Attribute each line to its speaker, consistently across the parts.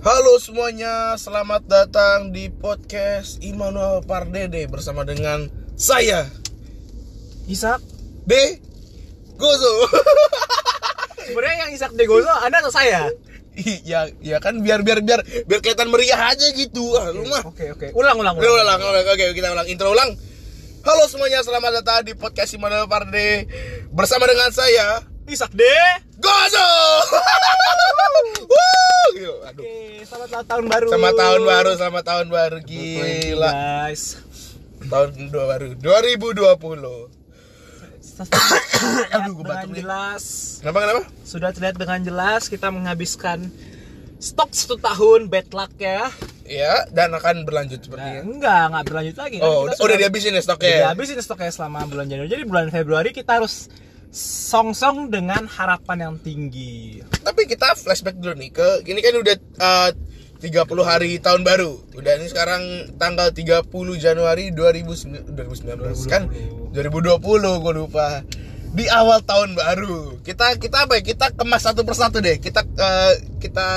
Speaker 1: Halo semuanya, selamat datang di podcast Immanuel Pardede bersama dengan saya
Speaker 2: Isak
Speaker 1: De Gozo.
Speaker 2: sebenarnya yang Isak Degozo Anda atau saya?
Speaker 1: Ih, ya ya kan biar biar biar biar kelihatan meriah aja gitu. Ah, lu mah.
Speaker 2: Oke oke ulang ulang
Speaker 1: Udah, ulang, ulang, ulang. Oke, kita ulang intro ulang. Halo semuanya, selamat datang di podcast Immanuel Pardede bersama dengan saya
Speaker 2: Isak De
Speaker 1: Gozo. Wuh, gila, aduh.
Speaker 2: Oke selamat tahun baru
Speaker 1: Sama tahun baru, sama tahun baru gila.
Speaker 2: guys
Speaker 1: Tahun dua baru 2020.
Speaker 2: Aduh
Speaker 1: gua batuk
Speaker 2: dengan
Speaker 1: nih.
Speaker 2: jelas
Speaker 1: Kenapa kenapa?
Speaker 2: Sudah terlihat dengan jelas kita menghabiskan stok satu tahun bad luck ya
Speaker 1: Ya, dan akan berlanjut
Speaker 2: Nah,
Speaker 1: seperti ini.
Speaker 2: Enggak, enggak berlanjut lagi Karena
Speaker 1: Oh,
Speaker 2: kita
Speaker 1: udah,
Speaker 2: sudah-
Speaker 1: udah dihabisin ya
Speaker 2: udah
Speaker 1: stoknya.
Speaker 2: dihabisin stoknya selama bulan Januari Jadi bulan Februari kita harus song-song dengan harapan yang tinggi
Speaker 1: Tapi kita flashback dulu nih ke ini kan udah eh, 30 hari tahun baru. Udah ini sekarang tanggal 30 Januari 2019, 2019 kan 2020 gue lupa. Di awal tahun baru. Kita kita apa ya? Kita kemas satu persatu deh. Kita eh, kita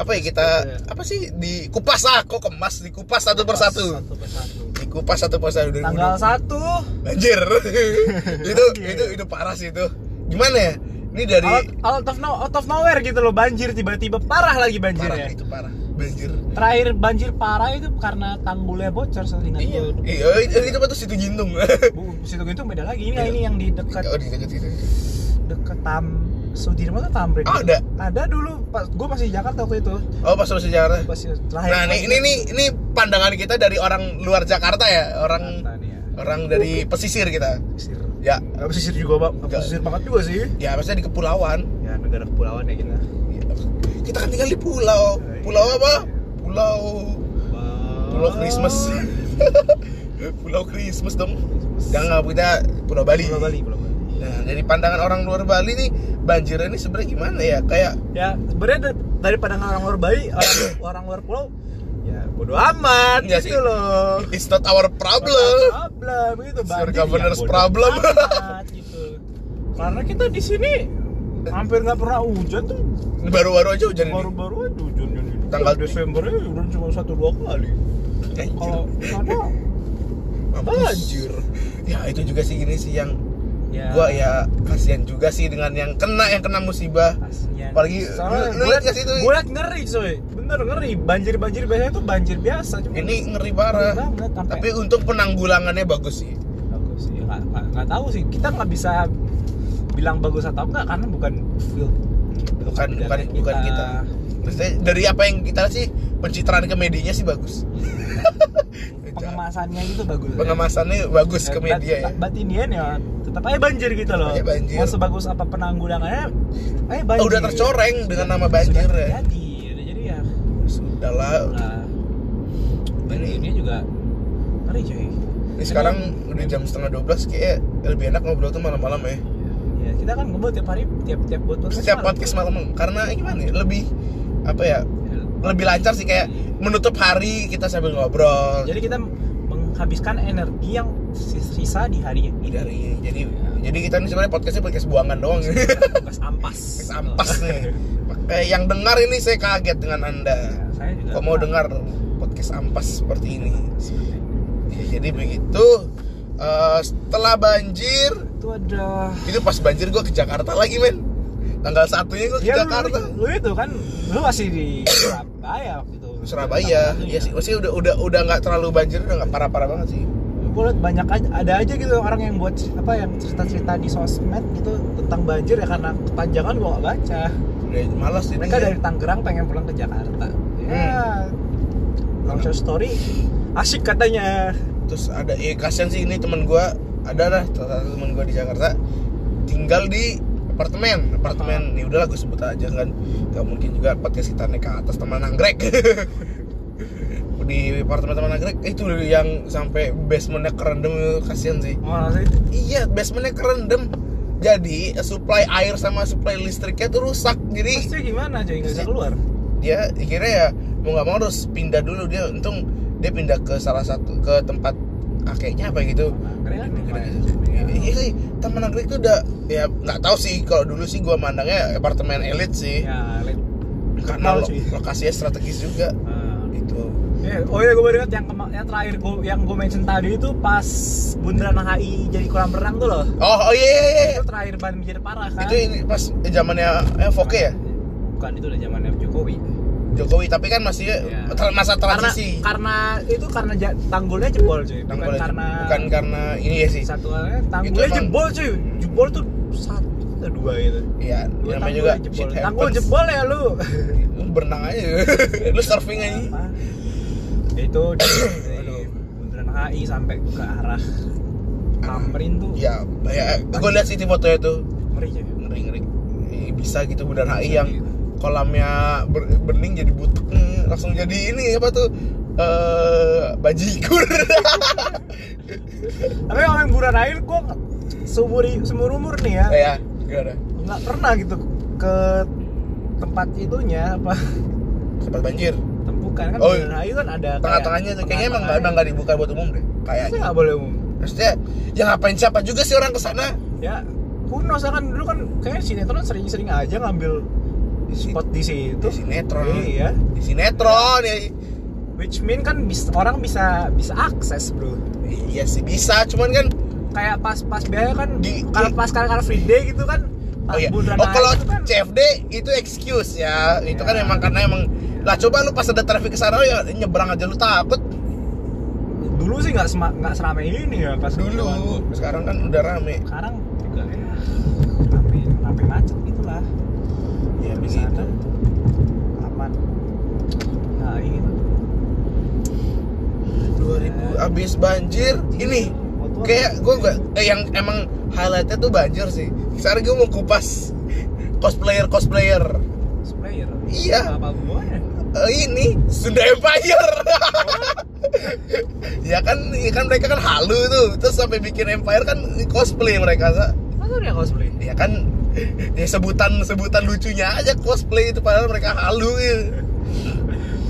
Speaker 1: apa ya? Kita
Speaker 2: Iya.
Speaker 1: apa sih di kupas ah kok kemas dikupas satu persatu.
Speaker 2: Satu persatu
Speaker 1: Dikupas satu persatu
Speaker 2: Tanggal 1
Speaker 1: Anjir. itu itu itu parah sih itu. Gimana ya? Ini dari
Speaker 2: out, out of no- out of nowhere gitu loh banjir tiba-tiba parah lagi
Speaker 1: parah ya? gitu.
Speaker 2: banjirnya.
Speaker 1: itu parah. Banjir.
Speaker 2: Terakhir banjir parah itu karena tanggulnya bocor seingat
Speaker 1: Iya,
Speaker 2: gue.
Speaker 1: iya itu, itu patut situ gintung.
Speaker 2: Bu, situ itu beda lagi.
Speaker 1: Iya.
Speaker 2: Ini ini yang di dekat
Speaker 1: oh, di dekat situ.
Speaker 2: dekat Tam Sudirman atau Tamrin.
Speaker 1: Oh, ada.
Speaker 2: Ada dulu pas gue masih di Jakarta waktu itu.
Speaker 1: Oh, pas masih Jakarta.
Speaker 2: Pas terakhir.
Speaker 1: Nah, ini ini ini ini pandangan kita dari orang luar Jakarta ya, orang
Speaker 2: Jakarta nih ya.
Speaker 1: orang dari pesisir kita.
Speaker 2: Pesisir.
Speaker 1: Ya,
Speaker 2: Eh, Pesisir juga, Bang.
Speaker 1: Enggak.
Speaker 2: Pesisir banget juga sih.
Speaker 1: ya maksudnya di kepulauan.
Speaker 2: Ya, negara kepulauan ya kita.
Speaker 1: Ya, Kita kan tinggal di pulau. Pulau apa? Pulau Pulau Christmas. pulau Christmas dong. Jangan kita Pulau Bali.
Speaker 2: Pulau Bali, Pulau Bali.
Speaker 1: Nah, dari pandangan orang luar Bali nih, banjir ini sebenarnya gimana ya? Kayak
Speaker 2: ya sebenarnya da- daripada orang luar Bali orang, orang luar pulau ya bodo amat
Speaker 1: Iya
Speaker 2: gitu
Speaker 1: sih.
Speaker 2: loh
Speaker 1: it's not our problem.
Speaker 2: problem gitu
Speaker 1: It's
Speaker 2: Banjir
Speaker 1: your
Speaker 2: ya
Speaker 1: governor's
Speaker 2: bodo
Speaker 1: problem.
Speaker 2: amat, gitu karena kita di sini hampir nggak pernah hujan tuh
Speaker 1: Baru-baru aja hujan ini.
Speaker 2: baru-baru aja hujan hujan hujan.
Speaker 1: Tanggal-
Speaker 2: Desember aja hujan cuma satu dua kali
Speaker 1: Eh,
Speaker 2: kalau sana
Speaker 1: Mampus.
Speaker 2: banjir.
Speaker 1: Ya itu juga sih gini sih yang
Speaker 2: ya
Speaker 1: gua ya kasihan juga sih dengan yang kena yang kena musibah.
Speaker 2: kasihan.
Speaker 1: Apalagi-
Speaker 2: Soalnya
Speaker 1: lu- lu liat
Speaker 2: gue liat
Speaker 1: gak sih itu?
Speaker 2: gue liat ngeri coy bener ngeri banjir banjir biasanya tuh banjir biasa cuma
Speaker 1: Ini ngeri parah.
Speaker 2: banget sampai
Speaker 1: Tapi untuk penanggulangannya bagus sih.
Speaker 2: bagus sih nggak nggak- nggak tahu sih kita nggak bisa bilang bagus atau enggak karena bukan field
Speaker 1: Bukan bukan
Speaker 2: bidangnya
Speaker 1: bukan kita. Maksudnya dari apa yang kita sih pencitraan ke medianya sih bagus.
Speaker 2: pengemasannya itu bagus ya.
Speaker 1: Pengemasannya bagus ke
Speaker 2: But-
Speaker 1: media ya.
Speaker 2: but- but in the end ya tetap aja banjir gitu loh
Speaker 1: Aja banjir.
Speaker 2: mau sebagus apa penanggulangannya aja
Speaker 1: Oh,
Speaker 2: banjir
Speaker 1: udah tercoreng dengan nama banjir
Speaker 2: sudah
Speaker 1: ya.
Speaker 2: terjadi Udah jadi ya
Speaker 1: Sudahlah,
Speaker 2: nah ini ini juga ngeri cuy
Speaker 1: Ini sekarang udah jam setengah 12 kayak lebih enak ngobrol tuh malam-malam ya.
Speaker 2: ya kita kan ngobrol tiap hari tiap tiap buat podcast
Speaker 1: Setiap
Speaker 2: malam.
Speaker 1: podcast malam karena gimana ya? Lebih apa ya?
Speaker 2: Ya,
Speaker 1: Lebih lancar sih kayak menutup hari kita sambil ngobrol.
Speaker 2: Jadi kita menghabiskan energi yang sisa di hari ini
Speaker 1: Jadi hari ini. Jadi jadi kita ini sebenarnya podcastnya podcast buangan doang.
Speaker 2: bekas ampas. Nah,
Speaker 1: Podcast ampas nih. Pakai Eh, yang dengar ini saya kaget dengan Anda.
Speaker 2: saya juga.
Speaker 1: Kok mau dengar podcast ampas seperti ini? Ya, jadi begitu. Eh, setelah banjir
Speaker 2: Itu ada.
Speaker 1: itu pas banjir gua ke Jakarta lagi men tanggal satunya gua ke
Speaker 2: Ya, lu-
Speaker 1: Jakarta
Speaker 2: Lu, lu itu kan lu masih di Surabaya waktu itu.
Speaker 1: Surabaya
Speaker 2: Tanggal
Speaker 1: ya sih
Speaker 2: satunya.
Speaker 1: masih udah udah udah nggak terlalu banjir udah nggak parah parah banget sih
Speaker 2: Gue liat banyak aja, ada aja gitu orang yang buat cer- apa yang cerita-cerita di sosmed gitu tentang banjir ya karena kepanjangan gua gak baca.
Speaker 1: udah malas sih
Speaker 2: Mereka dari Tangerang pengen pulang ke Jakarta.
Speaker 1: Hmm.
Speaker 2: Ya. Long short story asik katanya.
Speaker 1: terus ada eh kasihan sih ini teman gua ada lah salah satu teman gua di Jakarta tinggal di apartemen apartemen nih udahlah gue sebut aja kan nggak mungkin juga podcast kita naik ke atas teman anggrek di apartemen teman anggrek itu yang sampai basementnya kerendam kasihan sih
Speaker 2: Oh, itu
Speaker 1: Iya, basementnya kerendam. Jadi supply air sama supply listriknya tuh rusak. Jadi
Speaker 2: Maksudnya gimana coy nggak bisa keluar?
Speaker 1: dia akhirnya ya mau nggak mau harus pindah dulu dia. Untung dia pindah ke salah satu ke tempat ah, kayaknya apa gitu.
Speaker 2: Keren
Speaker 1: Iya sih, teman negeri
Speaker 2: Iya.
Speaker 1: itu udah ya nggak tahu sih kalau dulu sih gua mandangnya apartemen elit sih.
Speaker 2: Ya,
Speaker 1: karena
Speaker 2: kental,
Speaker 1: lo-
Speaker 2: cuy.
Speaker 1: lokasinya strategis juga Gitu.
Speaker 2: Nah,
Speaker 1: itu
Speaker 2: Ya, oh iya gue baru ingat yang, kema- yang terakhir gue yang gue mention tadi itu pas bundaran HI jadi kolam renang tuh loh.
Speaker 1: oh oh iya, iya, iya.
Speaker 2: Itu terakhir ban menjadi parah kan?
Speaker 1: itu ini pas zamannya eh, Foke ya
Speaker 2: Bukan itu udah zamannya Jokowi.
Speaker 1: Jokowi tapi kan masih
Speaker 2: Iya.
Speaker 1: tra- masa transisi
Speaker 2: Karena karena itu karena ja- tanggulnya jebol cuy. Bukan
Speaker 1: Tanggulnya-
Speaker 2: karena
Speaker 1: bukan karena ini ya sih
Speaker 2: satu halnya, tanggulnya
Speaker 1: emang-
Speaker 2: jebol cuy. Jebol tuh satu atau dua gitu.
Speaker 1: Iya, namanya
Speaker 2: Dua tanggul
Speaker 1: juga
Speaker 2: jebol.
Speaker 1: shit
Speaker 2: Tanggul
Speaker 1: happens.
Speaker 2: jebol ya lu.
Speaker 1: Lu berenang aja lu surfing aja
Speaker 2: Apa? itu dari dari bundaran HI sampai ke arah Tamrin tuh
Speaker 1: ya, ya gue lihat sih di fotonya tuh
Speaker 2: ngeri cuy.
Speaker 1: ngeri ngeri Eh, bisa gitu bener HI yang kolamnya ber- bening jadi butek hmm, langsung jadi ini apa tuh eh bajigur
Speaker 2: tapi kalau yang buran air gue seumur seumur umur nih ya
Speaker 1: kayak gimana
Speaker 2: nggak pernah gitu ke tempat itunya apa
Speaker 1: tempat banjir
Speaker 2: tempukan kan
Speaker 1: Oh,
Speaker 2: buran air kan ada kayak
Speaker 1: tengah-tengahnya tuh kayaknya emang nggak emang nggak dibuka buat umum deh kayak
Speaker 2: Masa nggak boleh umum
Speaker 1: maksudnya ya ngapain siapa juga sih orang kesana
Speaker 2: ya kuno kan dulu kan kayak sinetron sering-sering aja ngambil spot di situ
Speaker 1: di sinetron
Speaker 2: iya
Speaker 1: di sinetron ya
Speaker 2: which mean kan bis- orang bisa bisa akses bro
Speaker 1: iya sih bisa cuman kan
Speaker 2: kayak pas pas biaya kan
Speaker 1: Di-
Speaker 2: kalau
Speaker 1: di-
Speaker 2: pas kan car free day gitu kan
Speaker 1: Oh iya.
Speaker 2: bulan
Speaker 1: Oh kalau
Speaker 2: itu kan
Speaker 1: CFD itu excuse ya. Itu
Speaker 2: Iya.
Speaker 1: kan emang karena emang lah coba lu pas ada traffic ke sana ya nyebrang aja lu takut
Speaker 2: dulu sih nggak sema- nggak serame ini ya pas
Speaker 1: dulu.
Speaker 2: zaman gua.
Speaker 1: Sekarang kan udah rame.
Speaker 2: sekarang juga ya rame rame macet gitulah
Speaker 1: Ya
Speaker 2: di sana aman nah ini
Speaker 1: 2000 abis banjir ini kayak gue gak eh, yang emang highlightnya tuh banjir sih. Sekarang gue mau kupas cosplayer cosplayer
Speaker 2: Sprayer.
Speaker 1: Iya.
Speaker 2: Apa buahnya?
Speaker 1: Eh, ini Sunda Empire. ya kan, ya kan mereka kan halu tuh, terus sampai bikin Empire kan cosplay mereka Sa.
Speaker 2: Masa dia cosplay?
Speaker 1: ya kan ya sebutan sebutan lucunya aja cosplay itu padahal mereka halu gitu.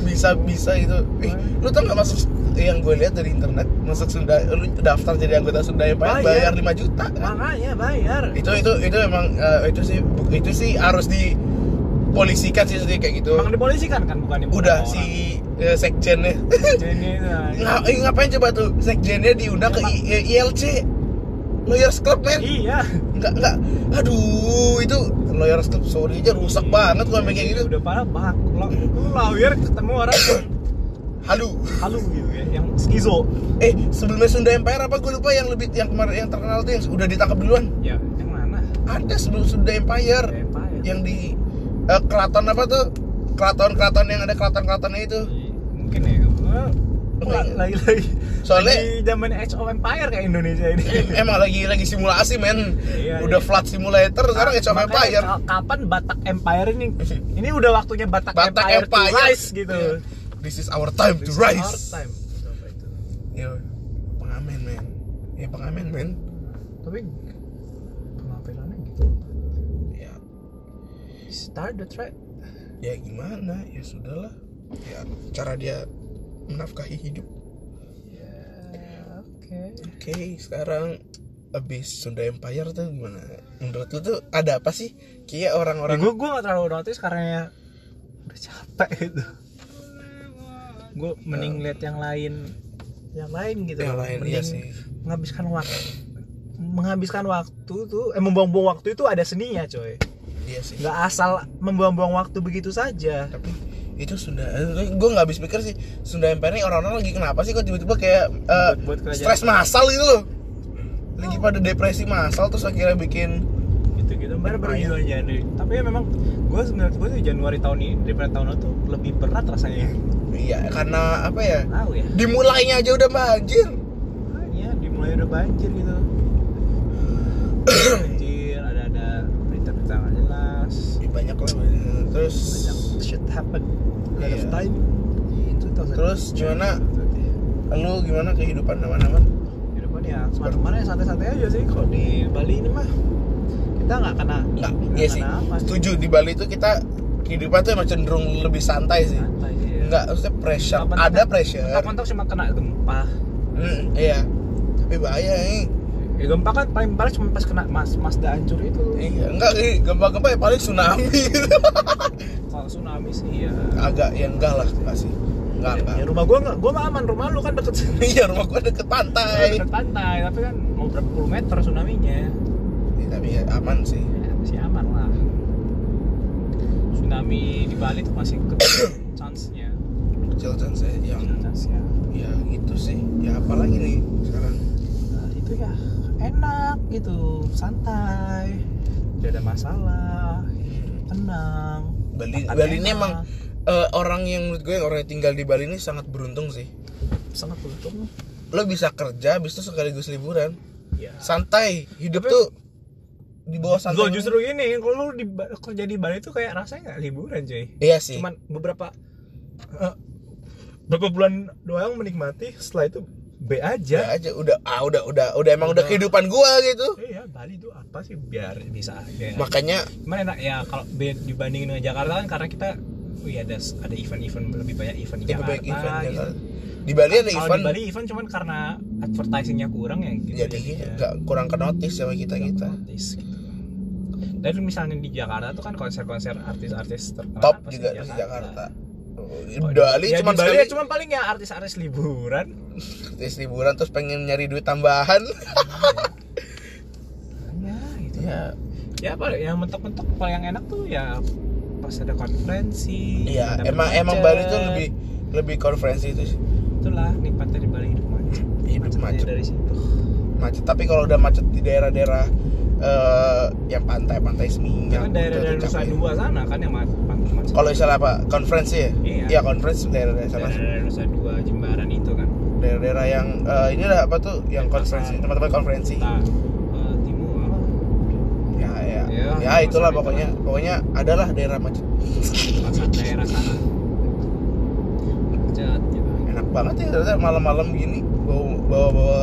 Speaker 1: bisa bisa itu Ih, lu tau nggak masuk eh, yang gue lihat dari internet masuk Sunda eh, lu daftar jadi anggota Sunda Empire bayar
Speaker 2: Bayar.
Speaker 1: 5 juta kan?
Speaker 2: Makanya bayar.
Speaker 1: itu itu itu emang eh, itu sih itu sih harus dipolisikan sih sih, kayak gitu
Speaker 2: Emang dipolisikan kan bukan dibunuh
Speaker 1: udah
Speaker 2: orang.
Speaker 1: si eh, sekjennya
Speaker 2: Jadi nah,
Speaker 1: Nga- eh, ngapain coba tuh sekjennya diundang ke I- eh, ILC Lawyers Club men
Speaker 2: Iya.
Speaker 1: Enggak, enggak. Aduh, itu lawyers club sorry aja rusak banget kalau kayak gitu.
Speaker 2: Udah parah bak. Lo lu lawyer ketemu orang yang
Speaker 1: Halu.
Speaker 2: halu gitu ya, yang skizo.
Speaker 1: Eh, sebelumnya Sunda Empire apa gue lupa yang lebih yang kemarin yang terkenal tuh yang udah ditangkap duluan.
Speaker 2: Ya, yang mana? ya?
Speaker 1: Ada sebelum Sunda Empire
Speaker 2: Empire.
Speaker 1: yang di eh, keraton apa tuh? Keraton-keraton yang ada keraton-keratonnya itu.
Speaker 2: mungkin ya. gua- gua
Speaker 1: Enggak.
Speaker 2: Lagi-lagi
Speaker 1: Soalnya- Iya,
Speaker 2: di zaman Age of Empire kayak Indonesia ini.
Speaker 1: Em- Emang lagi lagi simulasi men.
Speaker 2: Iya,
Speaker 1: udah
Speaker 2: iya.
Speaker 1: flat simulator sekarang Age of
Speaker 2: Makanya
Speaker 1: Empire.
Speaker 2: ka- Kapan Batak Empire ini? Ini udah waktunya Batak,
Speaker 1: Batak
Speaker 2: Empire, to
Speaker 1: Empire.
Speaker 2: rise gitu.
Speaker 1: Iya. This is our time to rise.
Speaker 2: Our time. Apa itu?
Speaker 1: Yo, pengamen men. Ya pengamen men.
Speaker 2: Tapi penampilannya gitu.
Speaker 1: Ya
Speaker 2: Start the track.
Speaker 1: ya gimana ya sudahlah ya cara dia menafkahi hidup
Speaker 2: Ya, oke.
Speaker 1: oke sekarang abis Sunda Empire tuh gimana menurut lu tuh ada apa sih kayak
Speaker 2: Ya,
Speaker 1: orang-orang
Speaker 2: gue gue gak terlalu notice karena ya udah capek gitu. Gue mending lihat yang lain, Eh. yang lain gitu.
Speaker 1: Yang lain,
Speaker 2: mending
Speaker 1: iya sih.
Speaker 2: menghabiskan waktu menghabiskan waktu tuh eh membuang-buang waktu itu ada seninya coy
Speaker 1: dia Iya sih
Speaker 2: nggak asal membuang-buang waktu begitu saja
Speaker 1: tapi itu Sunda gue nggak habis pikir sih Sunda Empire ini orang-orang lagi kenapa sih kok tiba-tiba kayak eh,
Speaker 2: Buat- buat kerajaan.
Speaker 1: stres massal gitu loh lagi pada depresi massal terus akhirnya bikin
Speaker 2: gitu-gitu
Speaker 1: Lumayan.
Speaker 2: baru-baru juga Januari tapi ya memang gue menurut gue tuh Januari tahun ini daripada tahun lalu tuh lebih berat rasanya
Speaker 1: iya karena apa ya
Speaker 2: tahu ya
Speaker 1: dimulainya aja udah banjir
Speaker 2: hanya dimulai udah banjir gitu banjir ada ada berita-berita nggak jelas
Speaker 1: Ya, banyak lah terus
Speaker 2: banyak shit happen a lot of
Speaker 1: Iya.
Speaker 2: time itu Iya, tahun
Speaker 1: Terus gimana? lu gimana kehidupan aman-aman
Speaker 2: kehidupan ya kemana-mana ya santai-santai aja sih kalau di Bali ini mah kita nggak kena
Speaker 1: Enggak, iya sih.
Speaker 2: kena apa
Speaker 1: Setuju di Bali itu kita kehidupan tuh emang cenderung lebih santai sih.
Speaker 2: santai ya.
Speaker 1: Enggak, maksudnya pressure.
Speaker 2: Mentok-
Speaker 1: Ada pressure.
Speaker 2: mentok-mentok cuma kena gempa
Speaker 1: Hmm, iya. Tapi bahaya nih.
Speaker 2: ya ya gempa kan paling parah cuma pas kena mas Mazda hancur itu
Speaker 1: Iya, enggak sih, gempa-gempa ya paling tsunami
Speaker 2: kalau tsunami sih ya
Speaker 1: Agak, ya enggak lah, enggak sih Enggak, enggak
Speaker 2: ya rumah gua nggak gua mah aman rumah lu kan deket sini
Speaker 1: Iya, rumah gua deket pantai
Speaker 2: Iya, deket pantai tapi kan mau berapa puluh meter tsunaminya
Speaker 1: Iya, Tapi ya aman sih
Speaker 2: ya, masih aman lah tsunami di Bali tuh masih kecil chance-nya
Speaker 1: Kecil chance ya,
Speaker 2: kecil chance-nya
Speaker 1: ya gitu sih Ya apalagi nih sekarang
Speaker 2: Nah, itu ya enak gitu santai tidak ada masalah tenang
Speaker 1: Bali,
Speaker 2: Makan
Speaker 1: Bali ini
Speaker 2: enak.
Speaker 1: emang eh, orang yang menurut gue orang yang tinggal di Bali ini sangat beruntung sih
Speaker 2: sangat beruntung
Speaker 1: Lo bisa kerja, habis itu sekaligus liburan
Speaker 2: ya
Speaker 1: Santai, hidup
Speaker 2: Tapi-
Speaker 1: tuh di bawah santai
Speaker 2: Loh, justru gini kalau lu di kerja di Bali tuh kayak rasanya nggak liburan cuy
Speaker 1: Iya sih
Speaker 2: cuman beberapa eh, beberapa bulan doang menikmati setelah itu B
Speaker 1: Ya
Speaker 2: aja
Speaker 1: aja udah ah udah udah udah emang udah,
Speaker 2: Udah.
Speaker 1: kehidupan gua gitu.
Speaker 2: Eh, ya Bali itu apa sih biar bisa aja
Speaker 1: Makanya
Speaker 2: cuman enak ya kalau B- dibandingin dengan Jakarta kan karena kita wih ada ada event-event lebih banyak event di
Speaker 1: tipe
Speaker 2: Jakarta,
Speaker 1: baik event ya
Speaker 2: gitu.
Speaker 1: kan. Di Bali ada
Speaker 2: Kalau
Speaker 1: event
Speaker 2: di Bali event cuman karena advertisingnya kurang ya gitu
Speaker 1: jadi nggak kurang ke notice sama kita kita.
Speaker 2: artis gitu. Dan misalnya di Jakarta tuh kan konser-konser artis-artis terkenal
Speaker 1: Top
Speaker 2: pasti
Speaker 1: juga di Jakarta. Di
Speaker 2: Kalau di-
Speaker 1: Bali
Speaker 2: Oh, ya,
Speaker 1: cuma
Speaker 2: di Bali
Speaker 1: sekali
Speaker 2: ya cuman paling ya artis-artis liburan.
Speaker 1: artis liburan terus pengen nyari duit tambahan.
Speaker 2: ya gitu. Ya,
Speaker 1: Iya.
Speaker 2: apa yang mentok-mentok paling yang enak tuh ya pas ada konferensi.
Speaker 1: Iya,
Speaker 2: dapet
Speaker 1: emang emang
Speaker 2: macet.
Speaker 1: Bali tuh lebih lebih konferensi itu sih.
Speaker 2: itulah nikmatnya di Bali hidup
Speaker 1: Iya,
Speaker 2: macet.
Speaker 1: Hidup
Speaker 2: Macetnya
Speaker 1: macet.
Speaker 2: dari situ.
Speaker 1: macet. Tapi kalau udah macet di daerah-daerah eh yang pantai-pantai
Speaker 2: Ya,
Speaker 1: seminyak
Speaker 2: kan
Speaker 1: udah
Speaker 2: daerah-daerah
Speaker 1: tuh
Speaker 2: Nusa
Speaker 1: capek.
Speaker 2: Dua sana kan yang macet. macet.
Speaker 1: Kalau misalnya apa konferensi ya?
Speaker 2: Iya.
Speaker 1: Iya, konferensi daerah-daerah sana sih.
Speaker 2: daerah Nusa Dua Jembaran itu kan.
Speaker 1: daerah-daerah yang eh, ini lah apa tuh yang konferensi tempat-tempat konferensi
Speaker 2: Nah, eh, timur apa?
Speaker 1: ya ya
Speaker 2: Ya,
Speaker 1: ya itulah
Speaker 2: pasar
Speaker 1: pokoknya pokoknya adalah daerah macet
Speaker 2: pasar daerah sana. Macet gitu.
Speaker 1: enak banget ya ternyata malam-malam gini bawa bawa, bawa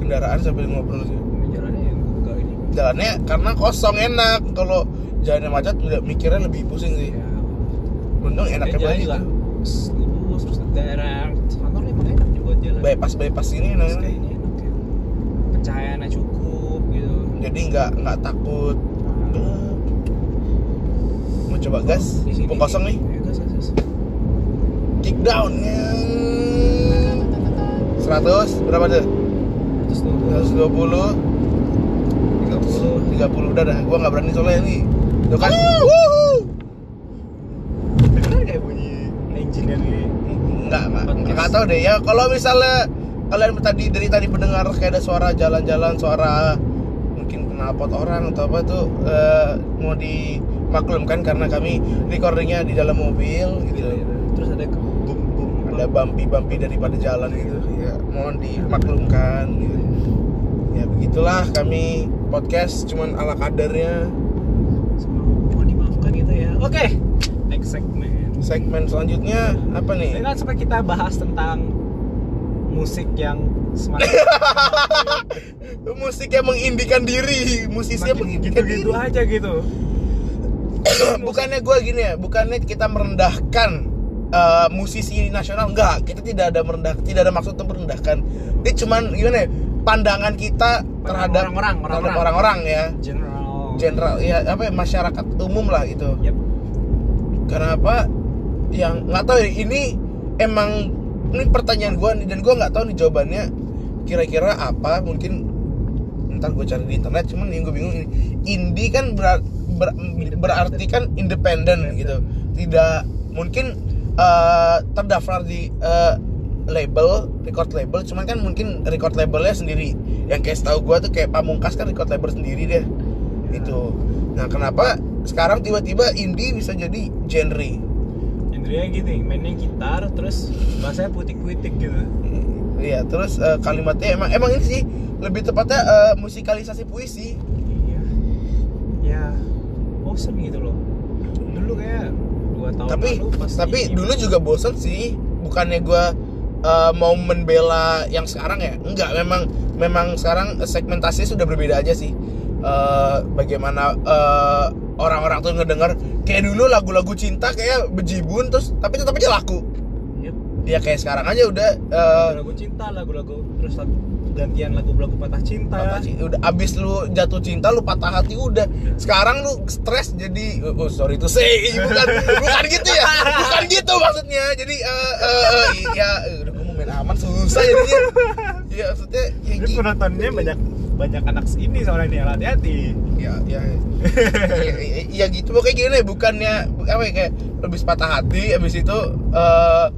Speaker 1: kendaraan sambil ngobrol gitu.
Speaker 2: Ini jalannya yang buka ini.
Speaker 1: jalannya karena kosong enak kalau jalannya macet udah mikirnya lebih pusing sih
Speaker 2: Ya.
Speaker 1: untung
Speaker 2: Dan
Speaker 1: enaknya
Speaker 2: Iya, jalan
Speaker 1: banget
Speaker 2: juga
Speaker 1: gitu
Speaker 2: lurus terus daerah kantor emang enak nih buat jalan.
Speaker 1: bypass bypass ini
Speaker 2: Terus
Speaker 1: namanya.
Speaker 2: kayaknya enak ya. Pencahayaannya cukup gitu.
Speaker 1: jadi nggak nggak takut
Speaker 2: Nah,
Speaker 1: mau coba Nah, gas
Speaker 2: di sini-
Speaker 1: mumpung kosong nih
Speaker 2: Ya, gas, gas, gas.
Speaker 1: kick down Nyeng. 100 berapa tuh
Speaker 2: Terus tuh
Speaker 1: 120
Speaker 2: 30
Speaker 1: 30 udah dah, gua nggak berani soalnya ini Tuh kan
Speaker 2: Bener kayak bunyi engine yang ini.
Speaker 1: Enggak, enggak, enggak tau deh ya Kalau misalnya kalian tadi dari tadi pendengar kayak ada suara jalan-jalan Suara mungkin knalpot orang atau apa tuh eh, Mau dimaklumkan karena kami recordingnya di dalam mobil
Speaker 2: Iya,
Speaker 1: gitu
Speaker 2: Terus ada ke- bum bum
Speaker 1: Ada bumpy-bumpy daripada jalan gitu ya Mohon dimaklumkan gitu Ya begitulah kami podcast cuman ala kadarnya
Speaker 2: Mohon dimaafkan gitu ya. Oke, next segment.
Speaker 1: Segmen selanjutnya apa nih?
Speaker 2: Ini kan sampai kita bahas tentang musik yang semakin,
Speaker 1: musik yang mengindikan diri musisi yang
Speaker 2: semakin
Speaker 1: mengindikan diri
Speaker 2: gitu-gitu aja gitu.
Speaker 1: bukannya gue gini ya bukannya kita merendahkan eh, musisi nasional enggak kita tidak ada merendah tidak ada maksud untuk merendahkan ini cuman gimana ya pandangan kita terhadap
Speaker 2: orang-orang,
Speaker 1: terhadap
Speaker 2: orang-orang.
Speaker 1: orang-orang ya
Speaker 2: General.
Speaker 1: general ya apa ya, masyarakat umum lah gitu
Speaker 2: Yep.
Speaker 1: karena apa yang nggak tahu ya, ini emang ini pertanyaan gue nih dan gue nggak tahu nih jawabannya kira-kira apa mungkin ntar gue cari di internet cuman yang gue bingung ini indie kan berar- ber- berarti kan independen gitu tidak mungkin eh, terdaftar di eh, label record label cuman kan mungkin record labelnya sendiri yang kayak setahu gue tuh kayak pamungkas kan record label sendiri deh itu nah kenapa sekarang tiba-tiba indie bisa jadi genre
Speaker 2: Genrenya gitu, mainnya gitar terus bahasanya putik-putik gitu.
Speaker 1: Iya, terus eh, kalimatnya emang emang ini sih lebih tepatnya eh, musikalisasi puisi.
Speaker 2: Iya. Ya, bosen gitu loh. Dulu kayak dua tahun
Speaker 1: tapi
Speaker 2: lalu pas
Speaker 1: tapi
Speaker 2: di-
Speaker 1: dulu juga bosan sih. Bukannya gua eh, mau membela yang sekarang ya? Enggak, memang memang sekarang segmentasinya sudah berbeda aja sih. Eh, bagaimana eh, orang-orang tuh ngedenger kayak dulu lagu-lagu cinta kayak bejibun terus tapi tetap aja laku.
Speaker 2: Yep.
Speaker 1: Dia kayak sekarang aja udah eh,
Speaker 2: lagu cinta iya, lagu-lagu terus lagu gantian lagu-lagu patah cinta
Speaker 1: Patah cinta. udah abis lu jatuh cinta lu patah hati udah sekarang lu stres jadi oh, oh, sorry itu say bukan bukan gitu ya bukan gitu maksudnya jadi eh eh, eh, ya eh, udah ngomong main aman susah jadinya ya maksudnya ya,
Speaker 2: jadi
Speaker 1: gi-
Speaker 2: penontonnya banyak banyak anak ini soalnya nih hati-hati
Speaker 1: ya ya ya, ya, ya gitu pokoknya gini deh bukannya apa ya kayak habis patah hati habis itu eh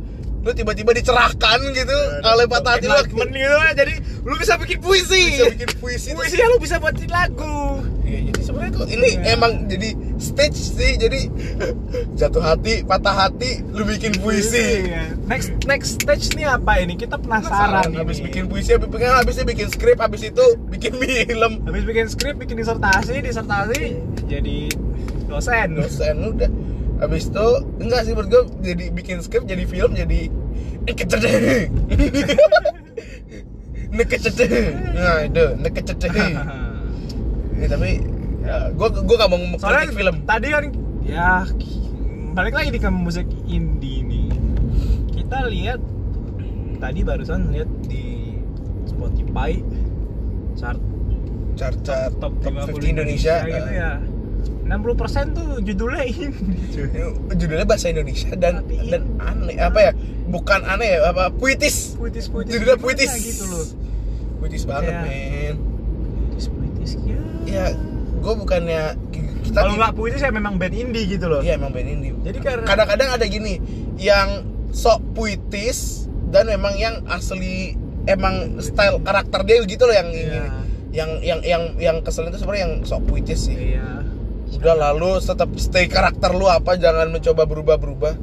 Speaker 1: lu tiba-tiba dicerahkan gitu oleh patah hati lu
Speaker 2: Enlightenment gitu lah, jadi lu bisa bikin puisi
Speaker 1: bisa bikin puisi tuh.
Speaker 2: iya. puisi yang lu bisa buatin lagu
Speaker 1: Iya, jadi sebenarnya kok ini
Speaker 2: Iya.
Speaker 1: emang jadi stage sih jadi jatuh hati patah hati lu bikin puisi
Speaker 2: Iya. next next stage nih apa ini kita penasaran,
Speaker 1: Saran,
Speaker 2: ini.
Speaker 1: habis bikin puisi habis bikin habisnya bikin skrip habis itu bikin film
Speaker 2: habis bikin skrip bikin disertasi disertasi jadi dosen
Speaker 1: Iya. dosen lu udah habis itu enggak sih menurut gue jadi bikin skrip jadi film jadi nekecedeh nekecedeh nah itu nekecedeh ya, tapi ya, gue gue gak mau
Speaker 2: soalnya
Speaker 1: mengkritik film
Speaker 2: tadi kan ya balik lagi di ke musik indie nih kita lihat tadi barusan lihat di Spotify chart
Speaker 1: chart chart top,
Speaker 2: top,
Speaker 1: 50
Speaker 2: 50
Speaker 1: Indonesia, eh.
Speaker 2: gitu ya 60% tuh judulnya indie cuy.
Speaker 1: Ini judulnya bahasa Indonesia dan
Speaker 2: Tapi
Speaker 1: dan
Speaker 2: ini-
Speaker 1: aneh apa ya bukan aneh ya apa puitis
Speaker 2: puitis-puitis
Speaker 1: judulnya
Speaker 2: gimana
Speaker 1: puitis
Speaker 2: gitu loh Iya.
Speaker 1: puitis banget
Speaker 2: Kayak-
Speaker 1: men
Speaker 2: puitis-puitis
Speaker 1: ya gue bukannya kita
Speaker 2: kalau nggak puitis ya memang band indie gitu loh
Speaker 1: iya emang band indie
Speaker 2: Jadi karena-
Speaker 1: kadang-kadang ada gini yang sok puitis dan memang yang asli emang style karakter dia gitu loh yang
Speaker 2: Iya.
Speaker 1: gini. yang yang yang yang keselin itu sebenarnya yang sok puitis sih
Speaker 2: iya
Speaker 1: udah lalu tetap stay karakter lu apa jangan mencoba berubah-berubah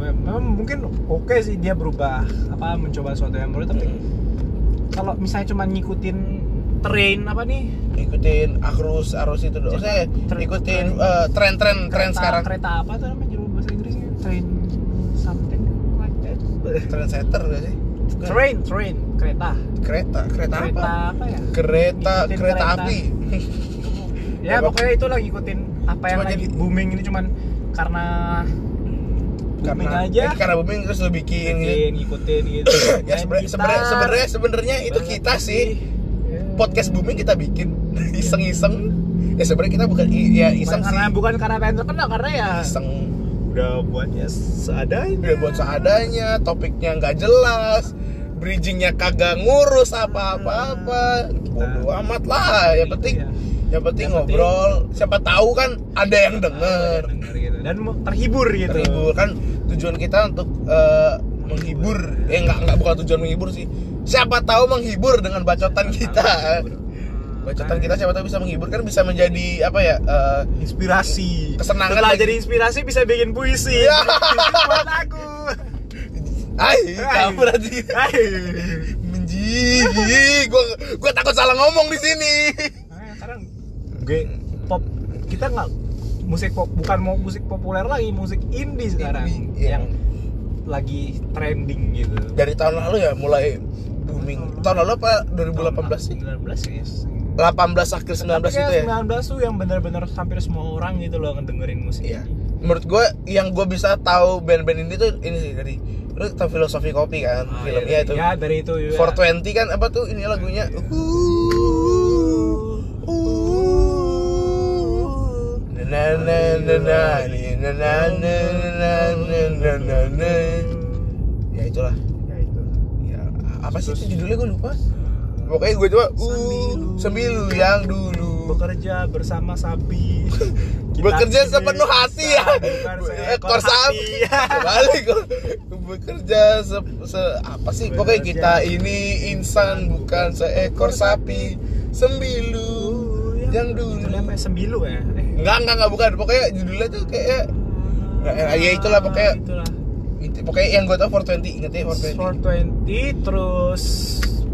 Speaker 2: memang mungkin oke sih dia berubah apa mencoba sesuatu yang baru tapi
Speaker 1: Hmm.
Speaker 2: kalau misalnya cuma ngikutin train apa nih
Speaker 1: ikutin arus arus itu dong saya
Speaker 2: Tren-
Speaker 1: ikutin eh, tren-tren tren
Speaker 2: kereta,
Speaker 1: sekarang
Speaker 2: kereta apa tuh namanya judul bahasa Inggrisnya train something like that
Speaker 1: tren setter gak sih Bukan.
Speaker 2: train train kereta
Speaker 1: kereta kereta
Speaker 2: kereta
Speaker 1: apa
Speaker 2: apa ya
Speaker 1: kereta
Speaker 2: Ngikutin
Speaker 1: kereta
Speaker 2: kereta.
Speaker 1: api
Speaker 2: ya
Speaker 1: Apa?
Speaker 2: pokoknya itu lah ngikutin apa yang
Speaker 1: Cuma
Speaker 2: lagi
Speaker 1: jadi-
Speaker 2: booming ini cuman karena booming
Speaker 1: karena
Speaker 2: aja
Speaker 1: eh, karena booming terus lu bikin gitu.
Speaker 2: ngikutin ngikutin gitu
Speaker 1: ya sebenarnya sebenarnya sebenarnya sebenarnya itu kita sih
Speaker 2: Ya.
Speaker 1: podcast booming kita bikin iseng-iseng ya sebenarnya kita bukan i- ya
Speaker 2: iseng
Speaker 1: iseng sih
Speaker 2: karena Iya. bukan karena pengen terkenal karena ya
Speaker 1: iseng
Speaker 2: udah buatnya seadanya
Speaker 1: udah buat seadanya topiknya nggak jelas bridgingnya kagak ngurus apa-apa-apa bodoh amat lah yang penting Hmm. Nah. Iya. Yang penting
Speaker 2: Yang penting-
Speaker 1: ngobrol, siapa tahu kan ada yang denger,
Speaker 2: Denger gitu. dan mau- terhibur gitu
Speaker 1: terhibur kan tujuan kita untuk eh, menghibur, eh nggak nggak bukan tujuan menghibur sih, siapa tahu menghibur dengan bacotan kita, bacotan kita siapa tahu bisa menghibur kan bisa menjadi apa ya, eh,
Speaker 2: inspirasi
Speaker 1: Kesenangan
Speaker 2: setelah
Speaker 1: lagi.
Speaker 2: jadi inspirasi bisa bikin puisi
Speaker 1: Iya.
Speaker 2: buat aku
Speaker 1: ay kamu nanti
Speaker 2: Hai.
Speaker 1: menjijik, gua gua takut salah ngomong di sini,
Speaker 2: Nah, sekarang gue pop kita nggak musik pop bukan mau musik populer lagi musik indie sekarang
Speaker 1: Indie, iya.
Speaker 2: yang lagi trending gitu
Speaker 1: dari tahun lalu ya mulai booming, tahun lalu apa 2018 sih,
Speaker 2: 2018 sih
Speaker 1: 18 akhir 19
Speaker 2: Tapi
Speaker 1: itu ya.
Speaker 2: kayak 19 Iya, tuh yang benar-benar hampir semua orang gitu loh ngedengerin musik.
Speaker 1: Iya. Menurut gue yang gue bisa tahu band-band ini tuh ini sih dari lu tau filosofi kopi kan
Speaker 2: Ah,
Speaker 1: filmnya
Speaker 2: iya,
Speaker 1: itu.
Speaker 2: Ya, dari itu juga.
Speaker 1: 420 kan apa tuh ini lagunya. Uh, uh. Na na na na ni, na na na na na na na na. Ya itulah.
Speaker 2: Ya, itu.
Speaker 1: Ya apa sih itu judulnya gue lupa. Pokoknya gue coba uh sembilu yang dulu.
Speaker 2: Bekerja bersama sapi. Kita
Speaker 1: bekerja
Speaker 2: kini
Speaker 1: sepenuh hati ya
Speaker 2: bukan
Speaker 1: ekor sapi balik bekerja se, se- apa sih pokoknya
Speaker 2: Bekerja.
Speaker 1: kita ini insan bukan seekor sapi sembilu yang dulu
Speaker 2: Judulnya apa ya? Sembilu ya? Eh.
Speaker 1: enggak enggak enggak bukan pokoknya judulnya tuh kayak Ya, ya, ya, itulah pokoknya.
Speaker 2: Ah, Itulah.
Speaker 1: inti- pokoknya yang gue tau 420 inget ya 420
Speaker 2: 420 terus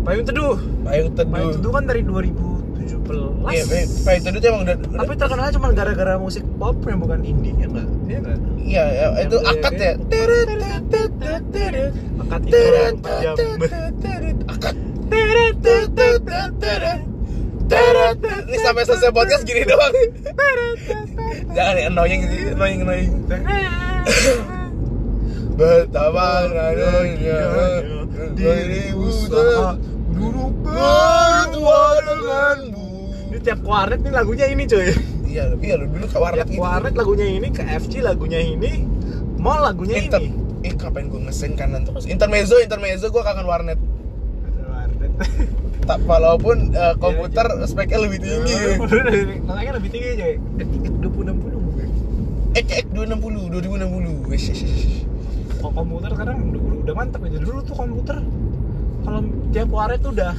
Speaker 2: Payung Teduh.
Speaker 1: payung
Speaker 2: Payung
Speaker 1: teduh
Speaker 2: Teduh kan dari 2017.
Speaker 1: Oh. Iya, Pay- payung teduh tuh emang udah
Speaker 2: Tapi terkenalnya cuma gara-gara musik pop yang bukan indie ya enggak? Iya enggak?
Speaker 1: iya ya, itu
Speaker 2: Yang
Speaker 1: akad ya
Speaker 2: Akad itu
Speaker 1: Teret,
Speaker 2: 4 jam.
Speaker 1: teret, akad. Teret, teret, teret. Ini sampai selesai podcast gini doang Jangan ya, annoying sih, annoying, annoying Betapa annoyingnya
Speaker 2: Diri usaha
Speaker 1: buruk bertua denganmu
Speaker 2: Ini tiap kuartet nih lagunya ini cuy
Speaker 1: iya lu- iya lu dulu ke warnet
Speaker 2: Tiap
Speaker 1: gitu
Speaker 2: kuartet lagunya Ya, ini, KFC lagunya ini Mall lagunya
Speaker 1: Inter
Speaker 2: ini
Speaker 1: eh kapan gue ngesen kanan terus intermezzo intermezzo gue kangen warnet
Speaker 2: Kuartet
Speaker 1: tak walaupun eh, komputer speknya lebih tinggi
Speaker 2: Ya, Makanya lebih tinggi cuy Dua puluh enam puluh
Speaker 1: ek ek 260 2060 Wish, wish, wish.
Speaker 2: Kalau komputer sekarang udah, udah mantep aja Dulu tuh komputer Kalau tiap kuartet tuh udah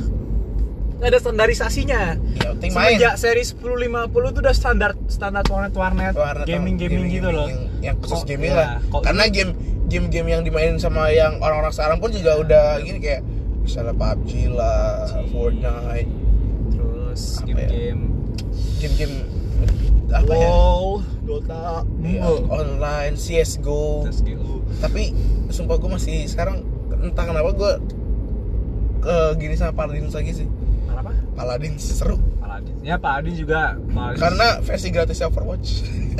Speaker 2: nggak ada standarisasinya
Speaker 1: ya penting main
Speaker 2: Semenjak seri 1050 tuh udah standar standar warnet-warnet
Speaker 1: Warnet
Speaker 2: gaming-gaming
Speaker 1: gaming
Speaker 2: gitu loh
Speaker 1: yang, yang khusus
Speaker 2: Kok-
Speaker 1: gaming
Speaker 2: iya,
Speaker 1: lah
Speaker 2: kok-
Speaker 1: karena game game game yang dimainin sama yang orang-orang sekarang pun juga udah gini kayak misalnya PUBG lah
Speaker 2: PUBG.
Speaker 1: Fortnite
Speaker 2: Terus
Speaker 1: Apa ya?
Speaker 2: game-game
Speaker 1: game-game apa ya
Speaker 2: LOL, Dota,
Speaker 1: Iya,
Speaker 2: MOBA,
Speaker 1: online CS:GO
Speaker 2: SGO.
Speaker 1: tapi sumpah gue masih sekarang entah kenapa gue ke gini sama Paladins lagi sih
Speaker 2: Apa?
Speaker 1: Paladins seru
Speaker 2: Paladin. Ya Paladin juga. Paladin.
Speaker 1: karena versi gratis Overwatch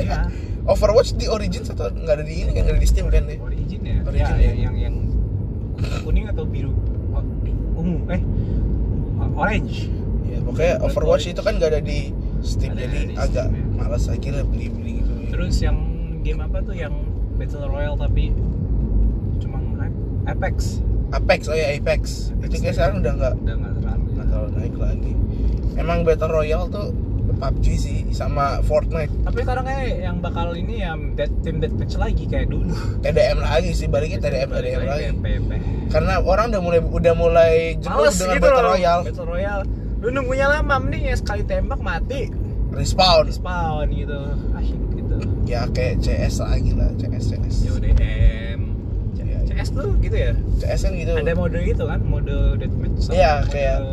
Speaker 2: ya,
Speaker 1: Overwatch di Origins atau nggak ada di ini kan nggak ada di Steam kan deh
Speaker 2: origin ya.
Speaker 1: Origin
Speaker 2: ya,
Speaker 1: ya.
Speaker 2: yang yang yang kuning atau biru? Oh, ungu eh o- orange.
Speaker 1: ya pokoknya Overwatch itu kan nggak ada di Steam
Speaker 2: Iya. Ada
Speaker 1: jadi
Speaker 2: di Steam,
Speaker 1: agak
Speaker 2: ya.
Speaker 1: malas lagi lah beli beli gitu
Speaker 2: Terus yang game apa tuh yang Battle Royale tapi cuma nge- Apex.
Speaker 1: Apex oh ya Apex, itu kayak
Speaker 2: Apex Legends.
Speaker 1: sekarang udah nggak
Speaker 2: Udah enggak terlalu. ya.
Speaker 1: nggak terlalu naik lagi emang Battle Royale tuh PUBG sih sama Fortnite
Speaker 2: Tapi sekarang kayak yang bakal ini ya dead, tim Dead Pitch lagi kayak dulu.
Speaker 1: TDM lagi sih baliknya TDM TDM
Speaker 2: Balik
Speaker 1: lagi
Speaker 2: ke PP.
Speaker 1: karena orang udah mulai udah mulai jenuh
Speaker 2: Males
Speaker 1: dengan
Speaker 2: gitu
Speaker 1: Battle
Speaker 2: loh.
Speaker 1: Royale
Speaker 2: Battle Royale. Lu nunggunya lama mending ya sekali tembak mati.
Speaker 1: respawn
Speaker 2: Respawn gitu. Asyik gitu.
Speaker 1: ya kayak CS lagi lah CS CS
Speaker 2: Ya, CODM.
Speaker 1: Iya, iya.
Speaker 2: CS tuh gitu ya.
Speaker 1: CS kan gitu
Speaker 2: Ada mode gitu kan, mode deathmatch sama
Speaker 1: Iya,
Speaker 2: mode
Speaker 1: kayak-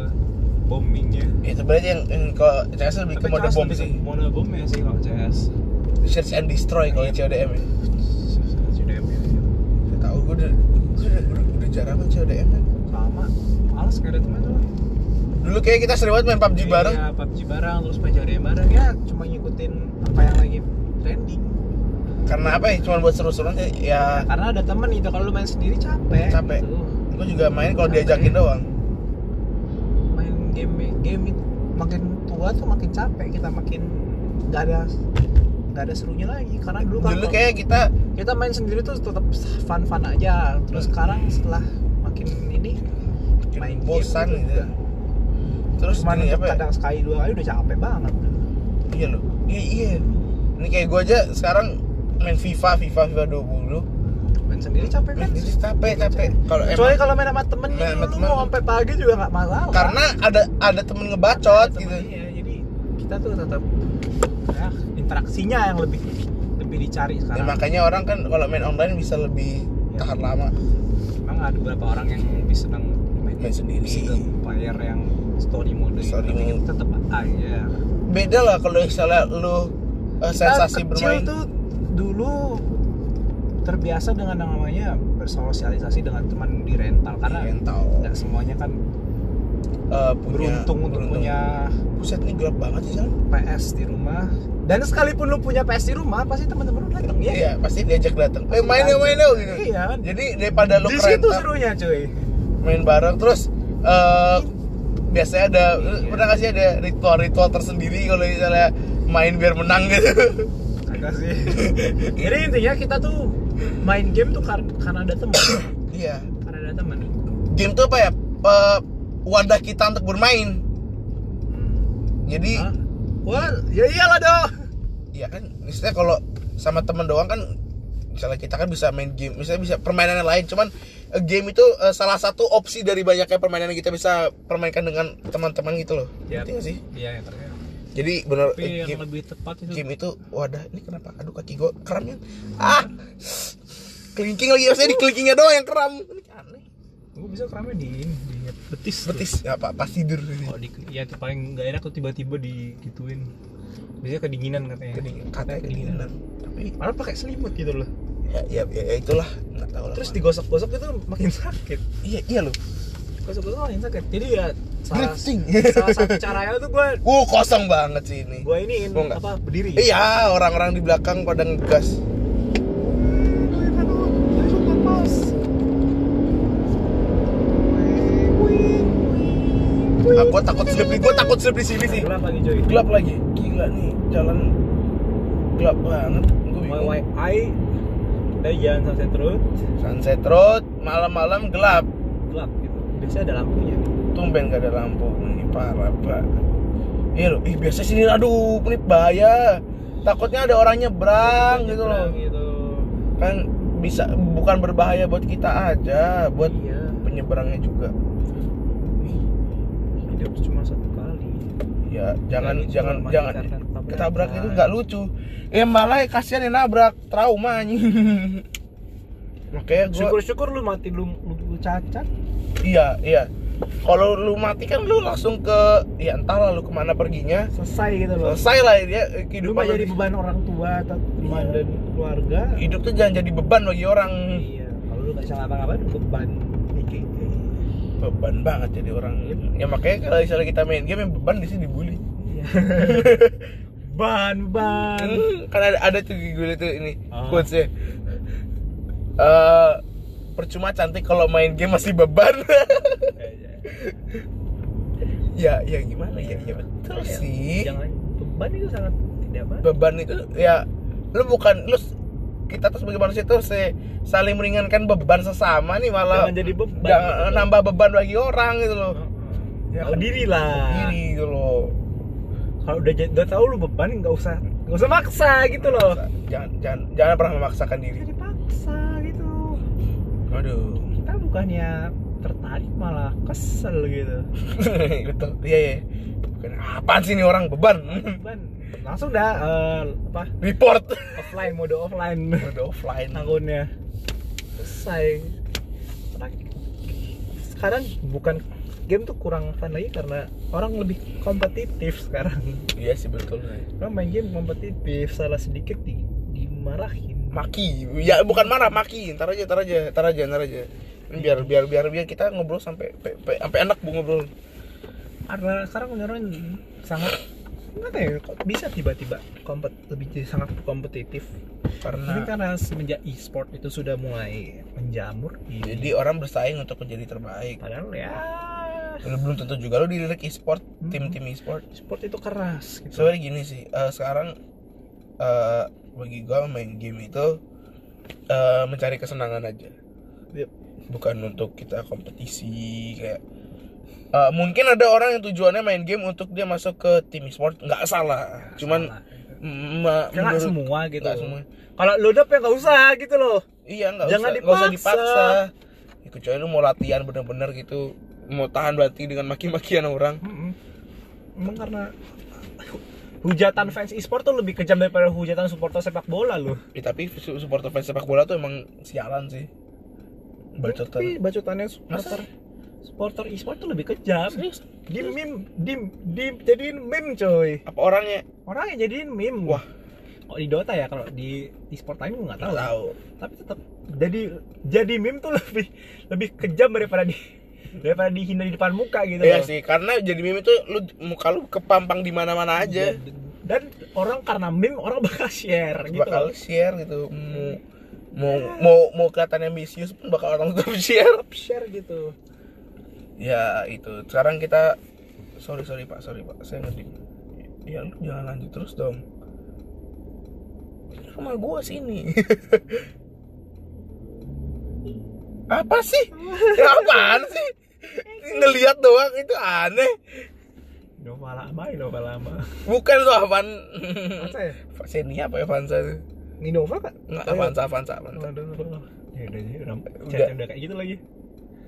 Speaker 2: bombingnya.
Speaker 1: ya sebenarnya yang, yang ke CS lebih ke
Speaker 2: Tapi
Speaker 1: mode
Speaker 2: CS
Speaker 1: bom
Speaker 2: lebih ke
Speaker 1: sih
Speaker 2: Mode bom ya sih kalau CS.
Speaker 1: search and destroy kalau
Speaker 2: Iya.
Speaker 1: CODM ya
Speaker 2: CODM ya.
Speaker 1: Gak tau gue udah gue udah, udah, udah jarang main CODM kan
Speaker 2: Lama. Males gak ada teman lah.
Speaker 1: dulu kayak kita sering banget main PUBG bareng
Speaker 2: Iya, PUBG bareng terus main CODM bareng ya cuma ngikutin apa yang lagi trending.
Speaker 1: karena apa ya cuma buat seru-seruan sih, ya
Speaker 2: Karena ada teman itu kalau lu main sendiri capek.
Speaker 1: Capek.
Speaker 2: gitu.
Speaker 1: gue juga main kalau
Speaker 2: Capek.
Speaker 1: diajakin doang
Speaker 2: main game game itu makin tua tuh makin capek kita makin nggak ada nggak ada serunya lagi karena dulu kan
Speaker 1: dulu
Speaker 2: kalau
Speaker 1: kayak kita
Speaker 2: kita main sendiri tuh tetap fun fun aja
Speaker 1: Iya.
Speaker 2: terus sekarang setelah makin ini main game
Speaker 1: bosan
Speaker 2: tuh
Speaker 1: gitu terus
Speaker 2: cuman
Speaker 1: gini apa ya?
Speaker 2: kadang sekali dua kali udah capek banget
Speaker 1: Iya loh. Iya iya. Ini kayak gue aja sekarang main FIFA, FIFA, FIFA 20
Speaker 2: main sendiri capek kan
Speaker 1: Main sendiri capek, capek. Kalau
Speaker 2: kecuali
Speaker 1: emang
Speaker 2: kalau main sama temen
Speaker 1: Main
Speaker 2: nih
Speaker 1: sama
Speaker 2: lu
Speaker 1: temen.
Speaker 2: mau sampai pagi juga nggak masalah
Speaker 1: karena ada ada temen
Speaker 2: Ada
Speaker 1: ngebacot
Speaker 2: temen,
Speaker 1: gitu.
Speaker 2: iya, jadi kita tuh tetap ya, interaksinya yang lebih lebih dicari
Speaker 1: Ya,
Speaker 2: sekarang
Speaker 1: makanya orang kan kalau main online bisa lebih
Speaker 2: Iya.
Speaker 1: tahan lama.
Speaker 2: Emang ada beberapa orang yang lebih senang main,
Speaker 1: Main sendiri.
Speaker 2: single player yang story mode gitu.
Speaker 1: Story
Speaker 2: Tapi
Speaker 1: mode.
Speaker 2: kita tetap aja.
Speaker 1: Beda lah kalau misalnya lu eh, sensasi
Speaker 2: kita kecil
Speaker 1: bermain.
Speaker 2: tuh dulu terbiasa dengan yang namanya bersosialisasi dengan teman di rental karena
Speaker 1: Iya, yang tahu.
Speaker 2: nggak semuanya kan
Speaker 1: Eh, punya,
Speaker 2: beruntung untuk
Speaker 1: beruntung.
Speaker 2: punya
Speaker 1: Buset nih gelap banget sih jalan.
Speaker 2: PS di rumah dan sekalipun lu punya PS di rumah pasti teman-teman lu datang
Speaker 1: Iya,
Speaker 2: ya
Speaker 1: pasti diajak datang. Eh main
Speaker 2: Pasti
Speaker 1: yuk, main yuk gitu.
Speaker 2: iya kan
Speaker 1: Jadi daripada lu
Speaker 2: di
Speaker 1: ke
Speaker 2: situ
Speaker 1: rental,
Speaker 2: serunya cuy
Speaker 1: main bareng terus eh biasanya ada
Speaker 2: Iya.
Speaker 1: pernah gak sih ada ritual ritual tersendiri kalau misalnya main biar menang gitu
Speaker 2: kagak sih jadi intinya kita tuh main game tuh kar- karena ada teman
Speaker 1: iya
Speaker 2: karena ada teman
Speaker 1: game tuh apa ya Eh, wadah kita untuk bermain jadi
Speaker 2: Hah? wah ya iyalah dong
Speaker 1: ya kan misalnya kalau sama temen doang kan misalnya kita kan bisa main game misalnya bisa permainan yang lain cuman eh, game itu eh, salah satu opsi dari banyaknya permainan yang kita bisa permainkan dengan teman-teman gitu loh
Speaker 2: Yap.
Speaker 1: Ngerti nggak sih
Speaker 2: iya ya ternyata
Speaker 1: jadi bener
Speaker 2: tapi
Speaker 1: eh,
Speaker 2: yang
Speaker 1: game,
Speaker 2: lebih tepat itu
Speaker 1: game itu wadah ini kenapa aduh kaki gue kram ya ah kelingking lagi maksudnya di kelingkingnya doang yang kram ini aneh
Speaker 2: gue bisa keramnya di ini di betis tuh.
Speaker 1: betis ya apa pas tidur
Speaker 2: kalau di ya itu paling nggak enak tuh tiba-tiba digituin biasanya kedinginan katanya
Speaker 1: Kedingin- katanya kedinginan tapi
Speaker 2: malah pakai selimut gitu loh
Speaker 1: ya, ya, ya- ya itulah nggak tahu lah
Speaker 2: terus digosok-gosok itu makin sakit
Speaker 1: iya iya loh
Speaker 2: gosok-gosok makin sakit jadi ya salah,
Speaker 1: Griting.
Speaker 2: salah satu caranya tuh gue
Speaker 1: wow kosong banget sih ini
Speaker 2: gue ini
Speaker 1: Mau nggak?
Speaker 2: apa berdiri
Speaker 1: iya orang-orang di belakang pada ngegas
Speaker 2: Terus
Speaker 1: aku takut slip nih gue takut slip di sini sih
Speaker 2: Gelap lagi coy.
Speaker 1: gelap lagi gila nih jalan gelap banget gue bingung
Speaker 2: YYI dari jalan Sunset Road
Speaker 1: sunset road malam-malam gelap
Speaker 2: gelap gitu. Biasanya ada lampunya.
Speaker 1: Gitu tumben gak ada lampu ini parah pak iya loh ih biasa sini aduh ini bahaya takutnya ada orang nyebrang gitu loh
Speaker 2: Nyebrang Gitu.
Speaker 1: kan bisa bukan berbahaya buat kita aja buat
Speaker 2: iya.
Speaker 1: penyeberangnya juga
Speaker 2: Hidup cuma satu kali. Iya,
Speaker 1: ya jangan
Speaker 2: Jadi,
Speaker 1: jangan
Speaker 2: cuma mati
Speaker 1: jangan
Speaker 2: karena ketabrakan.
Speaker 1: ketabrak itu nggak lucu ya malah kasihan yang nabrak trauma anjing makanya gua
Speaker 2: Syukur-syukur lu mati lu, lu, lu cacat.
Speaker 1: iya iya kalau lu mati kan lu langsung ke ya entahlah lu kemana perginya
Speaker 2: Selesai gitu loh.
Speaker 1: selesai lah dia
Speaker 2: Lu
Speaker 1: kehidupan
Speaker 2: gak
Speaker 1: lu.
Speaker 2: jadi beban orang tua atau teman
Speaker 1: Iya.
Speaker 2: dan keluarga.
Speaker 1: hidup tuh jangan jadi beban bagi orang
Speaker 2: Iya. Kalau lu gak bisa ngapa-ngapain lu beban. dikit.
Speaker 1: beban banget jadi orang ya makanya kalau misalnya kita main game yang beban di sini dibully
Speaker 2: Iya. ban, ban.
Speaker 1: Hmm, kan ada, ada tuh gue liat tuh ini
Speaker 2: Ah.
Speaker 1: quotesnya Eh, percuma cantik kalau main game masih beban ya ya gimana ya ya betul
Speaker 2: Iya.
Speaker 1: sih
Speaker 2: Jangan beban itu sangat tidak baik.
Speaker 1: beban itu ya lu bukan lu s- kita tuh sebagai manusia tuh se- saling meringankan beban sesama nih malah
Speaker 2: Jangan jadi beban. gitu.
Speaker 1: jangan nambah beban bagi orang gitu loh
Speaker 2: Ya, tahu diri lah.
Speaker 1: ini gitu loh
Speaker 2: Kalau udah jadi- udah tahu lu beban nggak usah nggak usah maksa gitu loh.
Speaker 1: jangan jangan jangan pernah memaksakan diri
Speaker 2: Jadi paksa gitu.
Speaker 1: aduh
Speaker 2: Kita bukannya tertarik malah kesel gitu.
Speaker 1: betul iya iya bukan apaan sih ini orang beban
Speaker 2: Beban. Langsung dah eh, apa
Speaker 1: report
Speaker 2: offline mode offline
Speaker 1: mode offline
Speaker 2: akunnya selesai. Orang- Sekarang bukan game tuh kurang fun lagi karena orang lebih kompetitif sekarang.
Speaker 1: iya sih betul
Speaker 2: Orang main game kompetitif salah sedikit di dimarahin.
Speaker 1: maki ya bukan marah maki ntar aja ntar aja ntar aja ntar aja Ini biar biar biar biar kita ngobrol sampai pe- pe- sampai enak bu ngobrol
Speaker 2: Karena sekarang orang sangat kenapa ya kok bisa tiba-tiba kompet lebih jadi sangat kompetitif. Ini
Speaker 1: karena
Speaker 2: karena semenjak e-sport itu sudah mulai menjamur di-
Speaker 1: jadi orang bersaing untuk menjadi terbaik
Speaker 2: padahal ya
Speaker 1: belum belum tentu juga lo dilirik e-sport tim-tim e-sport
Speaker 2: sport itu keras gitu.
Speaker 1: soalnya gini sih eh, sekarang eh, bagi gua main game itu eh, mencari kesenangan aja
Speaker 2: Yep.
Speaker 1: bukan untuk kita kompetisi kayak Eh, mungkin ada orang yang tujuannya main game untuk dia masuk ke tim e-sport nggak salah cuman
Speaker 2: Salah.
Speaker 1: m- ma-
Speaker 2: Karena nggak
Speaker 1: menurut-
Speaker 2: semua gitu.
Speaker 1: nggak semua.
Speaker 2: Kalau lu dap ya nggak usah gitu loh.
Speaker 1: iya nggak
Speaker 2: Jangan
Speaker 1: usah nggak usah
Speaker 2: dipaksa.
Speaker 1: dipaksa Ya, kecuali lu mau latihan bener-bener gitu mau tahan berarti dengan maki-makian orang
Speaker 2: Emang karena hujatan fans e-sport tuh lebih kejam daripada hujatan supporter sepak bola loh.
Speaker 1: Ya, tapi su- supporter fans sepak bola tuh emang sialan sih.
Speaker 2: Tapi
Speaker 1: Bacotan.
Speaker 2: bacotannya supporter
Speaker 1: Masa?
Speaker 2: supporter e-sport tuh lebih kejam.
Speaker 1: Serius?
Speaker 2: Di meme, di, di jadiin meme coy.
Speaker 1: Apa orangnya?
Speaker 2: Orangnya jadiin meme.
Speaker 1: Wah.
Speaker 2: Kok di Dota ya kalau di e-sport lain gue nggak tahu.
Speaker 1: Nggak tahu.
Speaker 2: Tapi tetap jadi jadi meme tuh lebih lebih kejam daripada di daripada dihina di depan muka gitu.
Speaker 1: Iya
Speaker 2: loh.
Speaker 1: sih, karena jadi meme tuh lu muka lu kepampang di mana-mana aja.
Speaker 2: Dan orang karena meme orang bakal share Iya, gitu.
Speaker 1: bakal
Speaker 2: loh.
Speaker 1: share gitu. Mau mau mau, mau kelihatan ambisius pun bakal orang tetap share.
Speaker 2: Tetap share gitu.
Speaker 1: Ya itu. Sekarang kita sorry sorry Pak, sorry Pak. Saya ngedip. Ya lu jangan lanjut terus dong. Ini rumah gua sini. Apa sih? Ya, apaan sih? Ngeliat doang itu aneh.
Speaker 2: Nova lama, ya, Nova lama.
Speaker 1: Bukan lu apaan?
Speaker 2: Apa ya?
Speaker 1: Senia apa Avanza? tuh?
Speaker 2: Nova kak?
Speaker 1: Enggak Avanza, Avanza, Avanza.
Speaker 2: Aduh, aduh. Ya udah, ya udah,
Speaker 1: Udah.
Speaker 2: udah, udah kayak gitu lagi.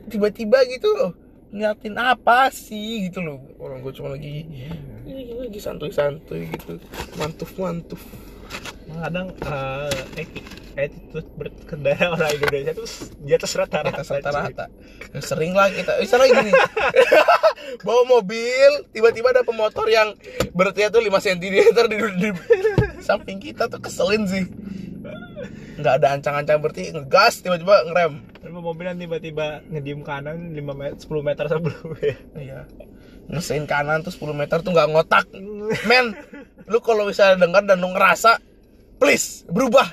Speaker 1: Tiba-tiba gitu loh ngeliatin apa sih gitu loh orang gue cuma lagi
Speaker 2: Iya.
Speaker 1: ini lagi santuy-santuy gitu mantuf-mantuf
Speaker 2: Emang kadang eh, etik attitude berkendara orang Indonesia tuh di atas rata-rata.
Speaker 1: atas rata-rata Ya, sering lah kita misalnya gini bawa mobil tiba-tiba ada pemotor yang beratnya tuh 5 cm di, di, samping kita tuh keselin sih nggak ada ancang-ancang berarti ngegas tiba-tiba ngerem
Speaker 2: Lalu mobilan tiba-tiba ngediem kanan 5 meter, 10 meter ya. sebelumnya.
Speaker 1: iya ngeselin kanan tuh 10 meter tuh nggak ngotak men lu kalau bisa dengar dan lu ngerasa please berubah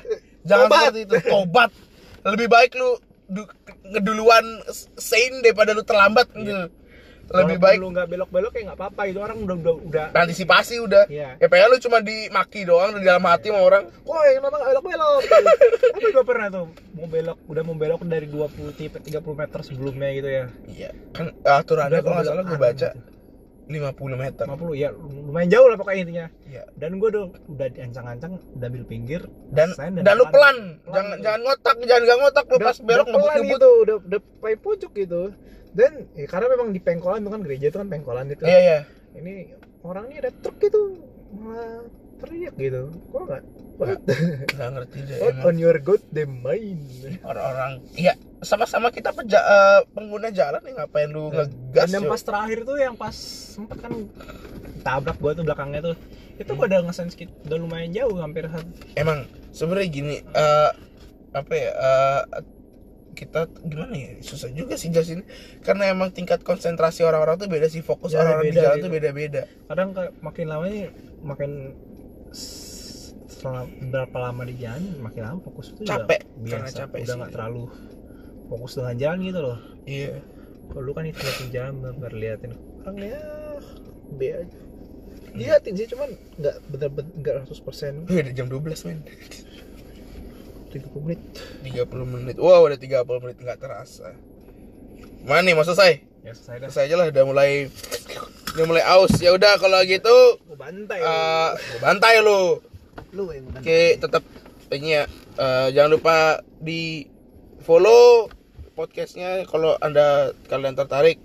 Speaker 1: jangan
Speaker 2: Tobat.
Speaker 1: seperti itu tobat lebih baik lu du- ngeduluan sane daripada lu terlambat gitu lebih
Speaker 2: Iya. Walaupun
Speaker 1: baik
Speaker 2: lu nggak belok-belok ya nggak apa-apa itu orang udah udah udah
Speaker 1: antisipasi udah
Speaker 2: Iya.
Speaker 1: ya pengen lu cuma dimaki doang di dalam hati sama orang
Speaker 2: Woi, kenapa nggak belok-belok? Tapi gue pernah tuh mau belok, udah mau belok dari 20 tipe 30 meter sebelumnya gitu ya.
Speaker 1: iya kan aturannya
Speaker 2: Udah,
Speaker 1: kalau nggak
Speaker 2: gua
Speaker 1: salah gue
Speaker 2: bilang,
Speaker 1: baca 50 meter
Speaker 2: 50 ya lumayan jauh lah pokoknya intinya.
Speaker 1: Iya.
Speaker 2: Dan gue udah udah diancang-ancang, udah ambil pinggir.
Speaker 1: dan
Speaker 2: rasain,
Speaker 1: dan lu pelan,
Speaker 2: Pelan
Speaker 1: jangan
Speaker 2: gitu.
Speaker 1: jangan ngotak jangan gak ngotak lu
Speaker 2: Udah-
Speaker 1: pas belok
Speaker 2: udah pelan
Speaker 1: ngebut-ngebut
Speaker 2: gitu, udah udah paling pucuk gitu. Dan ya, karena memang di pengkolan itu kan gereja itu kan pengkolan itu.
Speaker 1: iya iya
Speaker 2: Ini orangnya ada truk gitu malah teriak gitu. Gua nggak What?
Speaker 1: nggak ngerti deh
Speaker 2: What
Speaker 1: emang.
Speaker 2: on your god they mine.
Speaker 1: orang-orang iya sama-sama kita peja, eh, pengguna jalan nih ngapain lu ngegas
Speaker 2: Dan yang
Speaker 1: yuk?
Speaker 2: pas terakhir tuh yang pas sempet kan tabrak gua tuh belakangnya tuh. Itu gua udah ngesense kit- udah lumayan jauh hampir satu-
Speaker 1: emang sebenarnya gini eh apa ya eh, kita t- gimana ya susah juga sih jelasin karena emang tingkat konsentrasi orang-orang tuh beda sih fokus
Speaker 2: Ya,
Speaker 1: orang-orang di
Speaker 2: beda
Speaker 1: jalan
Speaker 2: sih.
Speaker 1: tuh beda-beda
Speaker 2: kadang kayak makin lama nih makin s- setelah berapa lama di jalan makin lama fokus itu
Speaker 1: Capek,
Speaker 2: udah
Speaker 1: karena
Speaker 2: biasa
Speaker 1: capek
Speaker 2: udah
Speaker 1: sih.
Speaker 2: nggak terlalu fokus dengan jalan gitu loh
Speaker 1: iya
Speaker 2: kalau lu kan itu liatin jalan bener liatin orang ya be aja diliatin sih cuman nggak bener-bener nggak 100% persen
Speaker 1: Wih, udah jam 12 men
Speaker 2: 30 menit
Speaker 1: 30 menit wow udah 30 menit nggak terasa mana nih mau selesai
Speaker 2: ya selesai dah
Speaker 1: selesai aja lah udah mulai udah mulai aus ya udah kalau gitu
Speaker 2: gue bantai
Speaker 1: eh, gua bantai lu
Speaker 2: lu yang bantai
Speaker 1: Oke, tetap ini ya. eh, jangan lupa di follow podcastnya kalau anda kalian tertarik.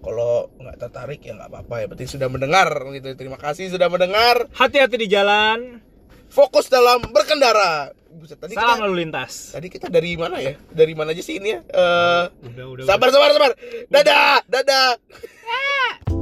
Speaker 1: Kalau nggak tertarik ya nggak apa-apa. Yang penting sudah mendengar gitu. Terima kasih sudah mendengar.
Speaker 2: hati-hati di jalan
Speaker 1: Fokus dalam berkendara. Buset, tadi
Speaker 2: salam
Speaker 1: kita,
Speaker 2: lalu lintas
Speaker 1: tadi kita dari mana ya? Dari mana aja sih ini ya? Eh,
Speaker 2: udah udah
Speaker 1: sabar, sabar, sabar. Dadah, dadah.